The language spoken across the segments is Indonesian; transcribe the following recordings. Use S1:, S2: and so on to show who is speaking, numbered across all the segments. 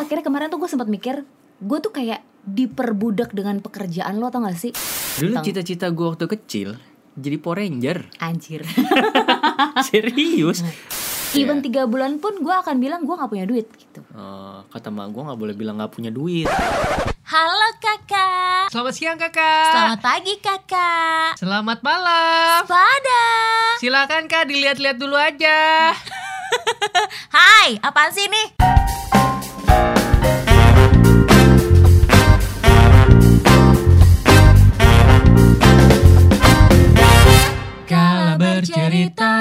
S1: akhirnya kemarin tuh gue sempat mikir gue tuh kayak diperbudak dengan pekerjaan lo tau gak sih
S2: Dulu cita-cita gue waktu kecil jadi Power Ranger.
S1: anjir
S2: Serius. Iya.
S1: even
S3: Iya.
S1: tiga bulan pun gue akan bilang gue nggak punya duit gitu
S2: Eh, kata mak gue nggak boleh bilang nggak punya duit.
S3: Halo kakak
S4: Selamat siang kakak.
S3: Selamat pagi kakak
S4: Selamat malam.
S3: Pada
S4: Silakan kak dilihat-lihat dulu aja.
S3: Hai, apaan sih nih?
S4: Kala bercerita.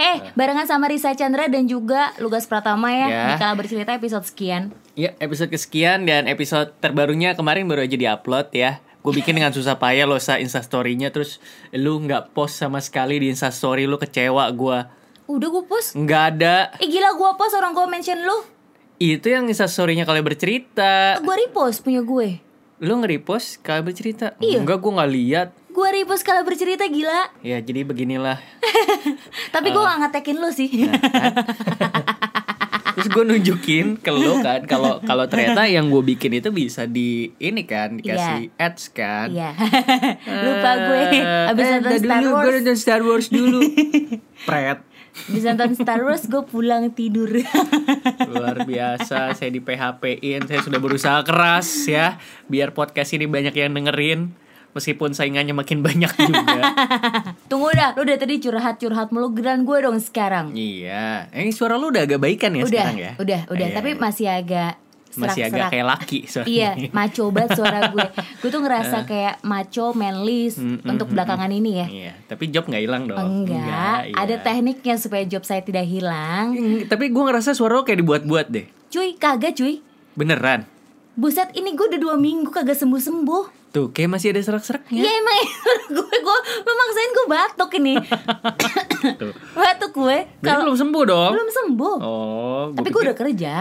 S1: Hei, barengan sama Risa Chandra dan juga Lugas Pratama ya
S2: Ya.
S1: di Kala Bercerita episode sekian.
S2: Ya episode kesekian dan episode terbarunya kemarin baru aja diupload ya. Gue bikin dengan susah payah lo sa instastorynya terus lu nggak post sama sekali di instastory lu kecewa gue.
S1: Udah gue post.
S2: Nggak ada.
S1: Eh gila gue post orang gue mention lu.
S2: Itu yang instastorynya kalau bercerita.
S1: Gue repost punya gue.
S2: Lu nge-repost kalau bercerita?
S1: Iya.
S2: Enggak gue nggak lihat.
S1: Gue repost Kala Bercerita gila.
S2: Ya jadi beginilah.
S1: Tapi gue gak ngetekin lu sih.
S2: Terus gue nunjukin ke lo kan kalau kalau ternyata yang gue bikin itu bisa di ini kan dikasih ads kan.
S1: Iya. Lupa gue. Abis
S2: Eh,
S1: nonton
S2: ntar
S1: Star
S2: dulu, Gue
S1: Wars.
S2: nonton Star Wars dulu. Pret.
S1: Abis nonton Star Wars gue pulang tidur.
S2: Luar biasa, saya di PHP-in, saya sudah berusaha keras ya biar podcast ini banyak yang dengerin meskipun saingannya makin banyak juga.
S1: Tunggu dah, lu udah tadi curhat-curhat mulu geran gue dong sekarang.
S2: iya. Eh, suara lu udah agak baikan ya
S1: udah,
S2: sekarang ya?
S1: udah, udah.
S2: Iya,
S1: Tapi
S2: iya.
S1: masih agak
S2: masih
S1: serak-serak.
S2: agak kayak laki soalnya.
S1: Iya, maco banget suara gue. Gue tuh
S2: Eh.
S1: ngerasa kayak maco manly untuk belakangan ini ya.
S2: Iya, tapi job nggak hilang dong.
S1: Enggak,
S2: iya.
S1: ada tekniknya supaya job saya tidak hilang.
S2: Hmm, Tapi gue ngerasa suara lo kayak dibuat-buat deh.
S1: Cuy, kagak cuy.
S2: Beneran.
S1: Buset, ini gue udah dua minggu kagak sembuh-sembuh.
S2: Tuh, kayak masih ada serak-seraknya.
S1: Ya emang gue gue lu maksain gue batuk ini.
S2: Tuh.
S1: batuk gue
S2: Jadi
S1: kalau
S2: belum sembuh dong.
S1: belum sembuh.
S2: Oh, gua
S1: Tapi gue
S2: pikir,
S1: udah kerja.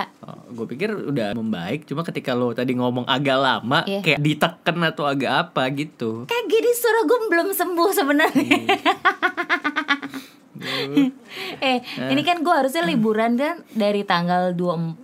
S2: gue pikir udah membaik. Cuma ketika lo tadi ngomong agak lama,
S1: Iya.
S2: kayak diteken atau agak apa gitu.
S1: Kayak gini suara gue belum sembuh sebenarnya.
S2: Hmm.
S1: eh, ini kan gue harusnya liburan kan dari tanggal 24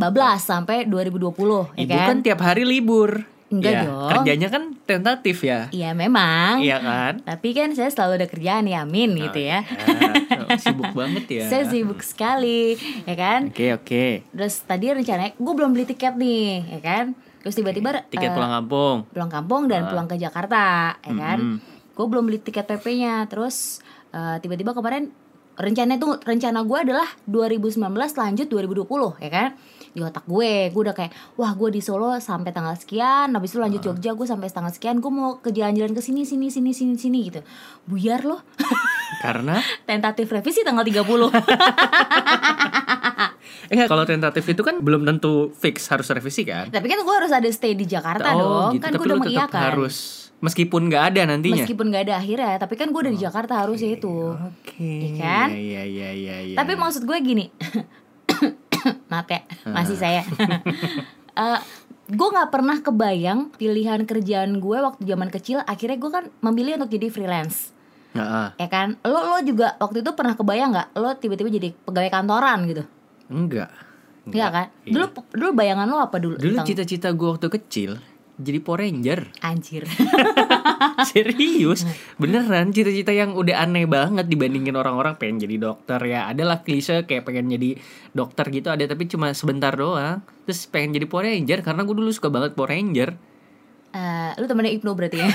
S1: bablas sampai 2020 ya
S2: Ibu
S1: kan?
S2: kan tiap hari libur.
S1: Enggak
S2: Ya,
S1: dong.
S2: Kerjanya kan tentatif ya.
S1: Iya memang.
S2: Iya Nah, kan?
S1: Tapi kan saya selalu ada kerjaan ya, amin gitu ya.
S2: Ya, sibuk banget ya.
S1: Saya sibuk sekali, ya kan?
S2: Oke, oke.
S1: Terus tadi rencananya gue belum beli tiket nih, ya kan? Terus tiba-tiba eh,
S2: Tiket pulang Ah. kampung.
S1: pulang kampung dan pulang ke Jakarta, ya kan? Gue belum beli tiket PP-nya. Terus eh, tiba-tiba kemarin rencana itu rencana gue adalah 2019 lanjut 2020, ya kan? Di otak gue, gue udah kayak wah gue di Solo sampai tanggal sekian, habis itu
S2: Ah.
S1: lanjut Jogja gue sampai tanggal sekian, gue mau ke jalan-jalan ke sini sini sini sini sini gitu. Buyar loh.
S2: Karena
S1: Tentatif revisi tanggal 30.
S2: eh kalau tentatif itu kan belum tentu fix harus revisi kan?
S1: Tapi kan gue harus ada stay di Jakarta dong,
S2: gitu.
S1: kan
S2: Tapi
S1: gue udah
S2: lo tetap
S1: mengiyakan.
S2: harus meskipun nggak ada nantinya.
S1: Meskipun gak ada akhirnya, tapi kan gue udah di Jakarta harusnya itu.
S2: Oke.
S1: Iya kan?
S2: Iya, iya, iya, iya.
S1: Tapi maksud gue gini, maaf ya, masih saya. Eh, gue nggak pernah kebayang pilihan kerjaan gue waktu zaman kecil. Akhirnya gue kan memilih untuk jadi freelance,
S2: Heeh.
S1: ya kan? Lo lo juga waktu itu pernah kebayang nggak? Lo tiba-tiba jadi pegawai kantoran gitu,
S2: Enggak.
S1: Iya kan? Dulu dulu bayangan lo apa dulu?
S2: Dulu
S1: tentang-
S2: cita-cita gue waktu kecil jadi Power Ranger.
S1: Anjir.
S2: Serius,
S1: Iya.
S2: beneran cita-cita yang udah aneh banget dibandingin orang-orang pengen jadi dokter ya. Adalah klise kayak pengen jadi dokter gitu ada tapi cuma sebentar doang. Terus pengen jadi Power Ranger karena gue dulu suka banget Power Ranger.
S1: Eh, lu temennya Ibnu berarti ya?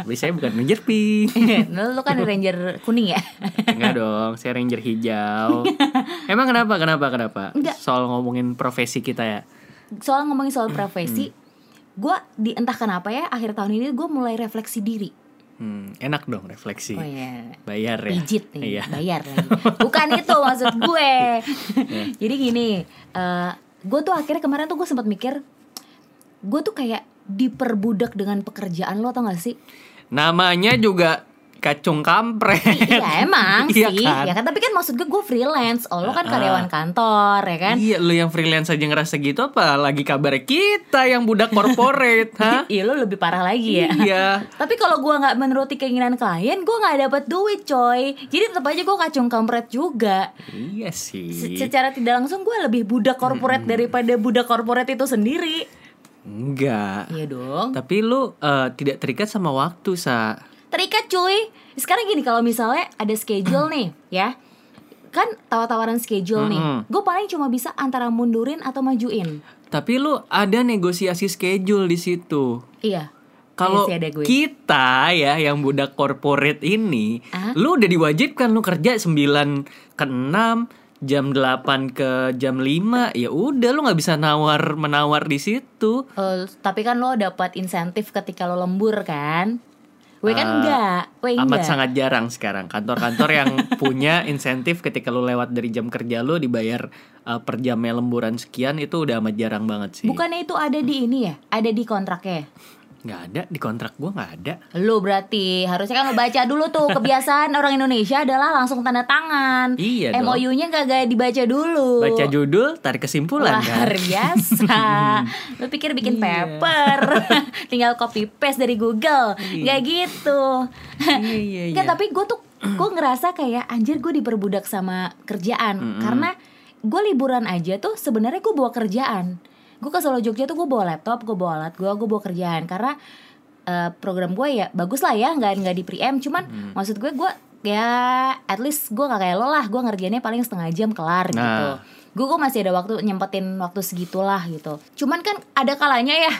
S2: tapi saya bukan Ranger Pink.
S1: Lu lu kan ranger kuning ya?
S2: Enggak dong, saya Ranger hijau. Emang kenapa? Kenapa? Kenapa?
S1: Enggak.
S2: Soal ngomongin profesi kita ya.
S1: soal ngomongin soal
S2: Hmm,
S1: profesi gue di entah kenapa ya akhir tahun ini gue mulai refleksi diri
S2: Hmm, enak dong refleksi.
S1: oh iya
S2: Bayar ya.
S1: pijit nih
S2: Iya.
S1: bayar lagi bukan itu maksud gue
S2: Iya.
S1: jadi gini gue tuh akhirnya kemarin tuh gue sempat mikir gue tuh kayak diperbudak dengan pekerjaan lo tau gak sih
S2: Namanya juga kacung kampret.
S1: Iya emang
S2: Iya
S1: sih
S2: kan? Ah,
S1: Ya kan tapi kan maksud gue gue freelance Oh lo kan karyawan kantor ya kan
S2: Iya, lu yang freelance aja ngerasa gitu apa lagi kabar kita yang budak corporate, hah?
S1: Iya lo lebih parah lagi ya
S2: Iya.
S1: Tapi kalau gua nggak menuruti keinginan klien Gue nggak dapat duit coy Jadi tetap aja gue kacung kampret juga
S2: Iya Hmm. sih.
S1: Se- Secara tidak langsung gue lebih budak korporat Daripada budak korporat itu sendiri
S2: Enggak.
S1: Iya dong
S2: Tapi lu eh, tidak terikat sama waktu, Sa.
S1: Terikat cuy Sekarang gini kalau misalnya ada schedule nih ya Kan tawar-tawaran schedule nih
S2: Mm-mm.
S1: Gue paling cuma bisa antara mundurin atau majuin
S2: Tapi lu ada negosiasi schedule di situ.
S1: Iya Iya
S2: Kalau
S1: sih, ada gue.
S2: kita ya yang budak corporate ini,
S1: Ah.
S2: lu udah diwajibkan lu kerja 9 ke 6, jam 8 ke jam 5, ya udah lu nggak bisa nawar menawar di situ.
S1: Eh, tapi kan lo dapat insentif ketika lo lembur kan? Gue kan
S2: Eh,
S1: enggak, gue
S2: Amat
S1: enggak.
S2: sangat jarang sekarang kantor-kantor yang punya insentif ketika lu lewat dari jam kerja lu dibayar uh, per jamnya lemburan sekian itu udah amat jarang banget sih.
S1: Bukannya itu ada di ini ya? Ada di kontraknya.
S2: Nggak ada di kontrak gua nggak ada.
S1: Lo berarti harusnya kan lo baca dulu tuh kebiasaan orang Indonesia adalah langsung tanda tangan.
S2: Iya dong.
S1: MOU-nya kagak dibaca dulu.
S2: Baca judul, tarik kesimpulan kan. Iya.
S1: Luar biasa Lo pikir bikin paper Tinggal copy paste dari Google Gak gitu
S2: Iya iya
S1: Nggak, tapi gue tuh gue ngerasa kayak anjir gue diperbudak sama kerjaan karena gue liburan aja tuh sebenarnya gue bawa kerjaan gue ke Solo Jogja tuh gue bawa laptop gue bawa alat gue gue bawa kerjaan karena eh, program gue ya bagus lah ya nggak nggak di pre-em cuman maksud gue gue ya at least gue gak kayak lo lah gue ngerjainnya paling setengah jam kelar gitu
S2: Nah.
S1: gue gue masih ada waktu nyempetin waktu segitulah gitu cuman kan ada kalanya ya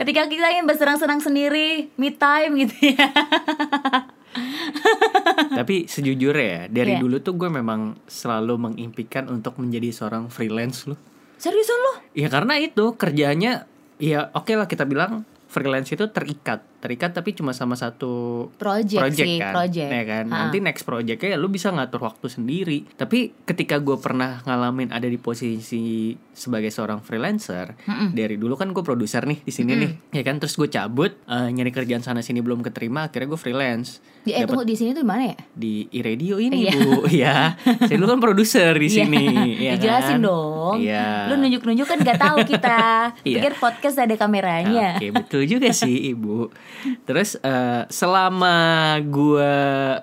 S1: ketika kita ingin bersenang-senang sendiri me time gitu ya
S2: Tapi sejujurnya ya, dari
S1: Iya.
S2: dulu tuh gue memang selalu mengimpikan untuk menjadi seorang freelance loh.
S1: seriusan lo
S2: Ya karena itu kerjaannya ya oke lah kita bilang freelance itu terikat, terikat tapi cuma sama satu
S1: project,
S2: project
S1: sih,
S2: kan,
S1: project.
S2: ya kan.
S1: Ha.
S2: Nanti next projectnya ya lu bisa ngatur waktu sendiri. Tapi ketika gue pernah ngalamin ada di posisi sebagai seorang freelancer,
S1: Mm-mm.
S2: dari dulu kan gue produser nih di sini nih, ya kan. Terus gue cabut eh, nyari kerjaan sana sini belum keterima, akhirnya gue freelance.
S1: Di- eh
S2: Dapet
S1: tunggu di sini tuh di mana ya?
S2: di radio ini
S1: Iya.
S2: bu, ya. Saya dulu kan produser di sini, ya
S1: Dijelasin
S2: kan?
S1: dong.
S2: Iya.
S1: Lu nunjuk-nunjuk kan gak tahu kita.
S2: Iya. Ah,
S1: Pikir podcast ada kameranya.
S2: Oke betul juga sih ibu. Terus eh, selama gua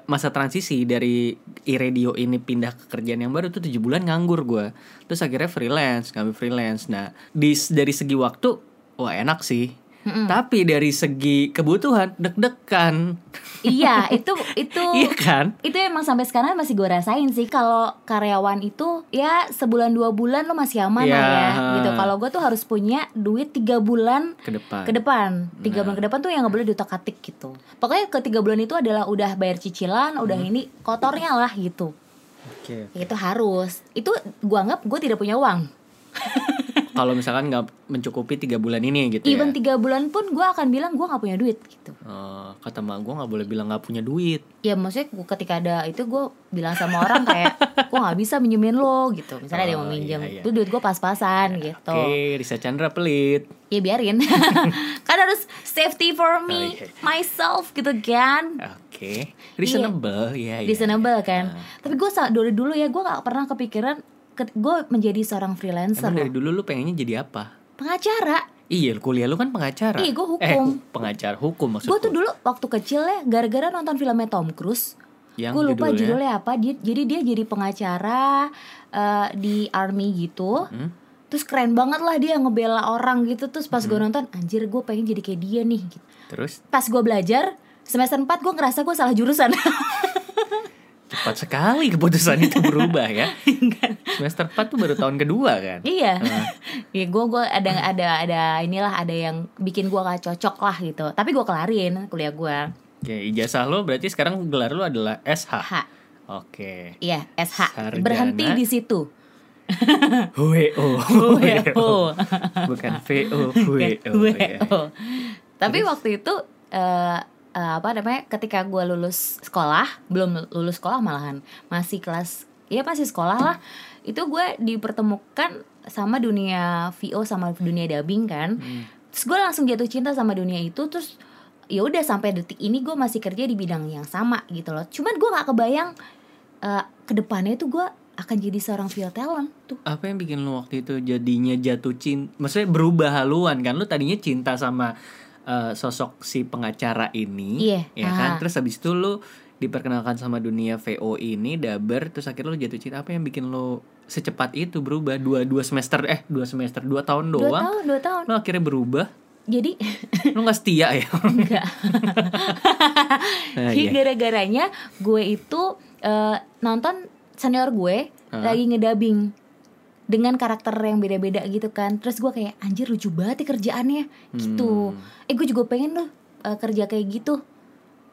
S2: masa transisi dari iradio ini pindah ke kerjaan yang baru tuh tujuh bulan nganggur gua. Terus akhirnya freelance, ngambil freelance. Nah di, dari segi waktu wah enak sih. Tapi dari segi kebutuhan deg-degan,
S1: iya, itu itu
S2: iya kan?
S1: itu emang sampai sekarang masih gue rasain sih kalau karyawan itu ya sebulan dua bulan lo masih aman lah
S2: Iya.
S1: ya gitu. Kalau gue tuh harus punya duit tiga bulan
S2: Ke depan.
S1: ke depan tiga bulan ke depan tuh yang nggak boleh diutak atik gitu pokoknya ketiga bulan itu adalah udah bayar cicilan udah
S2: Hmm.
S1: ini kotornya lah gitu
S2: Oke.
S1: itu harus itu gua anggap gue tidak punya uang
S2: Kalau misalkan nggak mencukupi tiga bulan ini gitu
S1: even
S2: ya.
S1: tiga bulan pun gua akan bilang gua nggak punya duit gitu
S2: Eh, kata mak gue nggak boleh bilang nggak punya duit.
S1: ya maksudnya gua ketika ada itu gua bilang sama orang kayak gua nggak bisa minjemin lo gitu misalnya ada yang mau
S2: Oh,
S1: minjem
S2: iya, iya.
S1: itu duit gua pas-pasan gitu
S2: Oke, Risa Chandra pelit.
S1: ya biarin kan harus safety for me
S2: Oh, iya.
S1: myself gitu kan Iya.
S2: Oke, reasonable ya. ya,
S1: reasonable
S2: ya.
S1: kan
S2: Nah,
S1: tapi gua sa- dari dulu ya gua nggak pernah kepikiran ke- gua menjadi seorang freelancer
S2: Emang dari
S1: loh.
S2: dulu lu pengennya jadi apa?
S1: pengacara
S2: Iya, kuliah lu kan pengacara.
S1: Iya, gua
S2: Eh,
S1: hukum.
S2: pengacara hukum maksud
S1: Gue tuh dulu waktu kecil ya gara-gara nonton filmnya Tom Cruise.
S2: Yang
S1: Gue lupa
S2: judulnya?
S1: judulnya apa. Dia, jadi dia jadi pengacara eh, di army gitu.
S2: Hmm?
S1: Terus keren banget lah dia ngebela orang gitu. Terus pas
S2: Hmm.
S1: gue nonton, anjir gue pengen jadi kayak dia nih. Gitu.
S2: Terus
S1: Pas gue belajar semester 4 gue ngerasa gue salah jurusan.
S2: cepat sekali keputusan itu berubah ya. Semester 4 tuh baru tahun kedua kan.
S1: iya. Ya gue gue ada ada ada inilah ada yang bikin gue gak cocok lah gitu. Tapi gue kelarin kuliah gue.
S2: Oke, ijazah lo berarti sekarang gelar lo adalah SH.
S1: H.
S2: Oke.
S1: Iya, SH.
S2: Sarjana.
S1: Berhenti di situ. Iya,
S2: WO. iya.
S1: WHO.
S2: Bukan VO, WO. ya.
S1: WHO. Tapi waktu itu eh, eh, apa namanya? Ketika gue lulus sekolah, belum lulus sekolah malahan, masih kelas, ya masih sekolah lah. Itu gue dipertemukan sama
S2: Hmm.
S1: dunia VO sama dunia dubbing kan. Terus gue langsung jatuh cinta sama dunia itu. Terus ya udah sampai detik ini gue masih kerja di bidang yang sama gitu loh cuman gue nggak kebayang eh, kedepannya tuh gue akan jadi seorang film talent tuh
S2: apa yang bikin lu waktu itu jadinya jatuh cinta maksudnya berubah haluan kan lu tadinya cinta sama eh, sosok si pengacara ini
S1: Iya.
S2: ya kan
S1: Ah.
S2: terus habis itu lu diperkenalkan sama dunia VO ini daber terus akhirnya lu jatuh cinta apa yang bikin lu secepat itu berubah dua dua semester eh dua semester dua tahun
S1: dua
S2: doang
S1: tahun dua tahun
S2: lu akhirnya berubah
S1: jadi
S2: lu nggak setia ya
S1: enggak
S2: Ah,
S1: Jadi
S2: iya.
S1: gara-garanya gue itu eh, nonton senior gue
S2: Heeh.
S1: lagi ngedabing dengan karakter yang beda-beda gitu kan. Terus gue kayak anjir lucu banget ya kerjaannya gitu.
S2: Hmm.
S1: Eh gue juga pengen loh eh, kerja kayak gitu.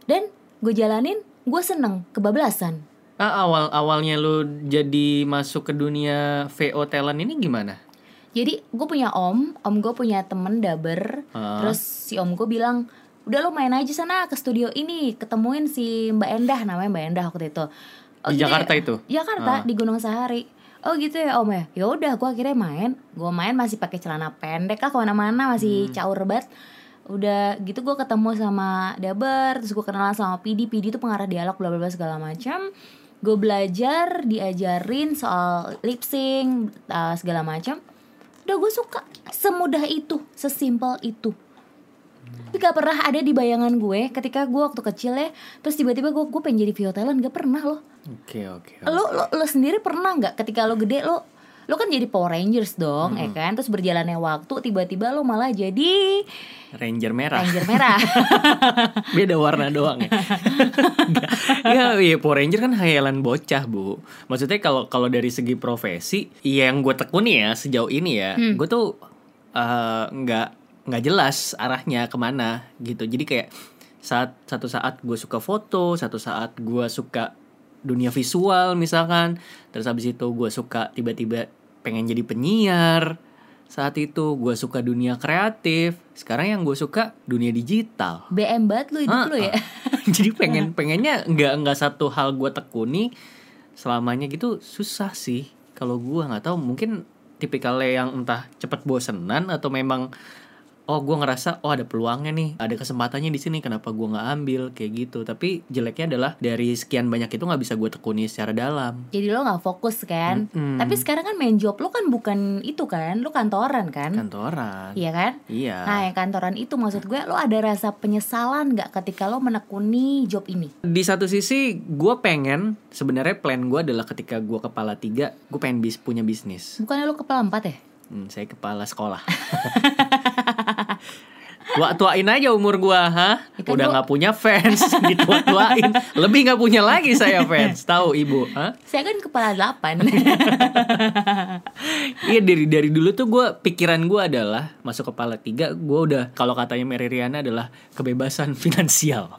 S1: Dan gue jalanin, gue seneng kebablasan.
S2: Ah, awal awalnya lu jadi masuk ke dunia VO talent ini gimana
S1: Jadi gue punya om, om gue punya temen daber.
S2: Ah.
S1: Terus si om gue bilang, udah lo main aja sana ke studio ini, ketemuin si Mbak Endah namanya Mbak Endah waktu itu. Oh, gitu
S2: di
S1: ya?
S2: Jakarta itu
S1: Jakarta di Gunung Sahari. Oh gitu ya om ya. Ya udah, gue akhirnya main. Gue main masih pakai celana pendek lah kemana-mana masih caur banget. Udah gitu gue ketemu sama Daber, terus gue kenalan sama Pidi. Pidi tuh pengarah dialog bla bla bla segala macam. Gue belajar diajarin soal lip sync uh, segala macam. Udah gue suka semudah itu, sesimpel itu. Tapi gak pernah ada di bayangan gue ketika gue waktu kecil ya Terus tiba-tiba gue, gue pengen jadi Vio Thailand, gak pernah loh
S2: oke oke oke.
S1: lo, lo lo sendiri pernah nggak ketika lo gede lo lo kan jadi Power Rangers dong ya kan terus berjalannya waktu tiba-tiba lo malah jadi
S2: Ranger merah
S1: Ranger merah
S2: beda warna doang ya. Nggak. ya, iya Power Ranger kan hayalan bocah bu. Maksudnya kalau kalau dari segi profesi, ya yang gue tekuni ya sejauh ini ya, gue tuh eh, nggak nggak jelas arahnya kemana gitu. Jadi kayak saat satu saat gue suka foto, satu saat gue suka dunia visual misalkan, terus habis itu gue suka tiba-tiba pengen jadi penyiar. Saat itu gue suka dunia kreatif. Sekarang yang gue suka dunia digital.
S1: BM banget lo hidup lo ya
S2: Ah, ah. Jadi pengen pengennya nggak nggak satu hal gue tekuni selamanya gitu susah sih kalau gua nggak tahu mungkin tipikalnya yang entah cepet bosenan atau memang oh gua ngerasa oh ada peluangnya nih ada kesempatannya di sini kenapa gua nggak ambil kayak gitu tapi jeleknya adalah dari sekian banyak itu nggak bisa gue tekuni secara dalam
S1: jadi lo nggak fokus kan
S2: Mm-mm.
S1: tapi sekarang kan main job lo kan bukan itu kan lo kantoran kan
S2: kantoran
S1: iya kan
S2: iya
S1: nah yang kantoran itu maksud gue lo ada rasa penyesalan nggak ketika lo menekuni job ini
S2: di satu sisi gua pengen sebenarnya plan gua adalah ketika gua kepala tiga gue pengen bis punya bisnis
S1: bukannya lo kepala empat ya
S2: Hmm, saya kepala sekolah. Tua tuain aja umur gua, ha?
S1: Ya kan
S2: Udah
S1: gua-
S2: nggak punya fans, ditua tuain. Lebih nggak punya lagi saya fans, tahu ibu, ha?
S1: saya kan kepala delapan
S2: Iya dari dari dulu tuh gua pikiran gua adalah masuk kepala tiga, gua udah kalau katanya Mary Riana adalah kebebasan finansial.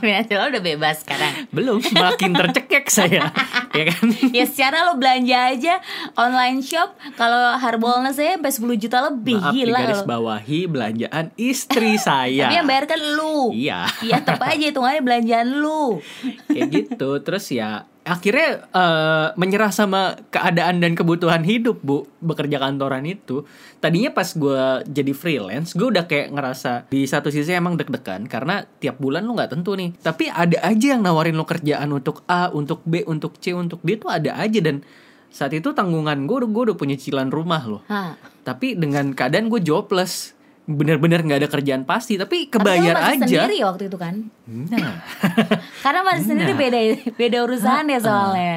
S1: finansial lo udah bebas sekarang
S2: Belum, makin tercekek saya, ya kan?
S1: ya secara lo belanja aja online shop kalau harbolnas saya sampai 10 juta lebih
S2: Maaf
S1: gila
S2: digaris
S1: lo.
S2: bawahi belanjaan istri saya.
S1: Tapi yang bayar kan lu.
S2: Iya.
S1: Iya, tetap aja hitungannya belanjaan lu.
S2: kayak gitu terus ya akhirnya eh, menyerah sama keadaan dan kebutuhan hidup bu bekerja kantoran itu tadinya pas gue jadi freelance gue udah kayak ngerasa di satu sisi emang deg-degan karena tiap bulan lu nggak tentu nih tapi ada aja yang nawarin lo kerjaan untuk A untuk B untuk C untuk D tuh ada aja dan saat itu tanggungan gue gue udah punya cicilan rumah loh
S1: Hah.
S2: tapi dengan keadaan gue jobless bener-bener nggak ada kerjaan pasti tapi
S1: Tapi kan lu
S2: kebayar
S1: masih
S2: aja
S1: sendiri ya waktu itu kan.
S2: nah
S1: Karena masih sendiri beda beda urusan ya soalnya.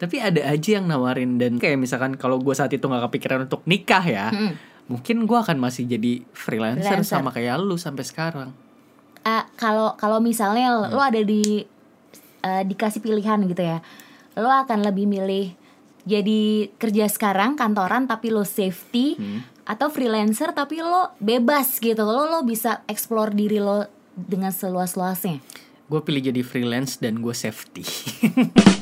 S2: Tapi ada aja yang nawarin dan kayak misalkan kalau gue saat itu nggak kepikiran untuk nikah ya,
S1: Mm-mm.
S2: mungkin gue akan masih jadi freelancer,
S1: Freelancer.
S2: sama kayak lu sampai sekarang.
S1: Ah, kalau kalau misalnya lo ada di eh, dikasih pilihan gitu ya. Lo akan lebih milih jadi kerja sekarang kantoran tapi lo safety atau freelancer tapi lo bebas gitu. Lo lo bisa explore diri lo dengan seluas-luasnya.
S2: Gue pilih jadi freelance dan gue safety.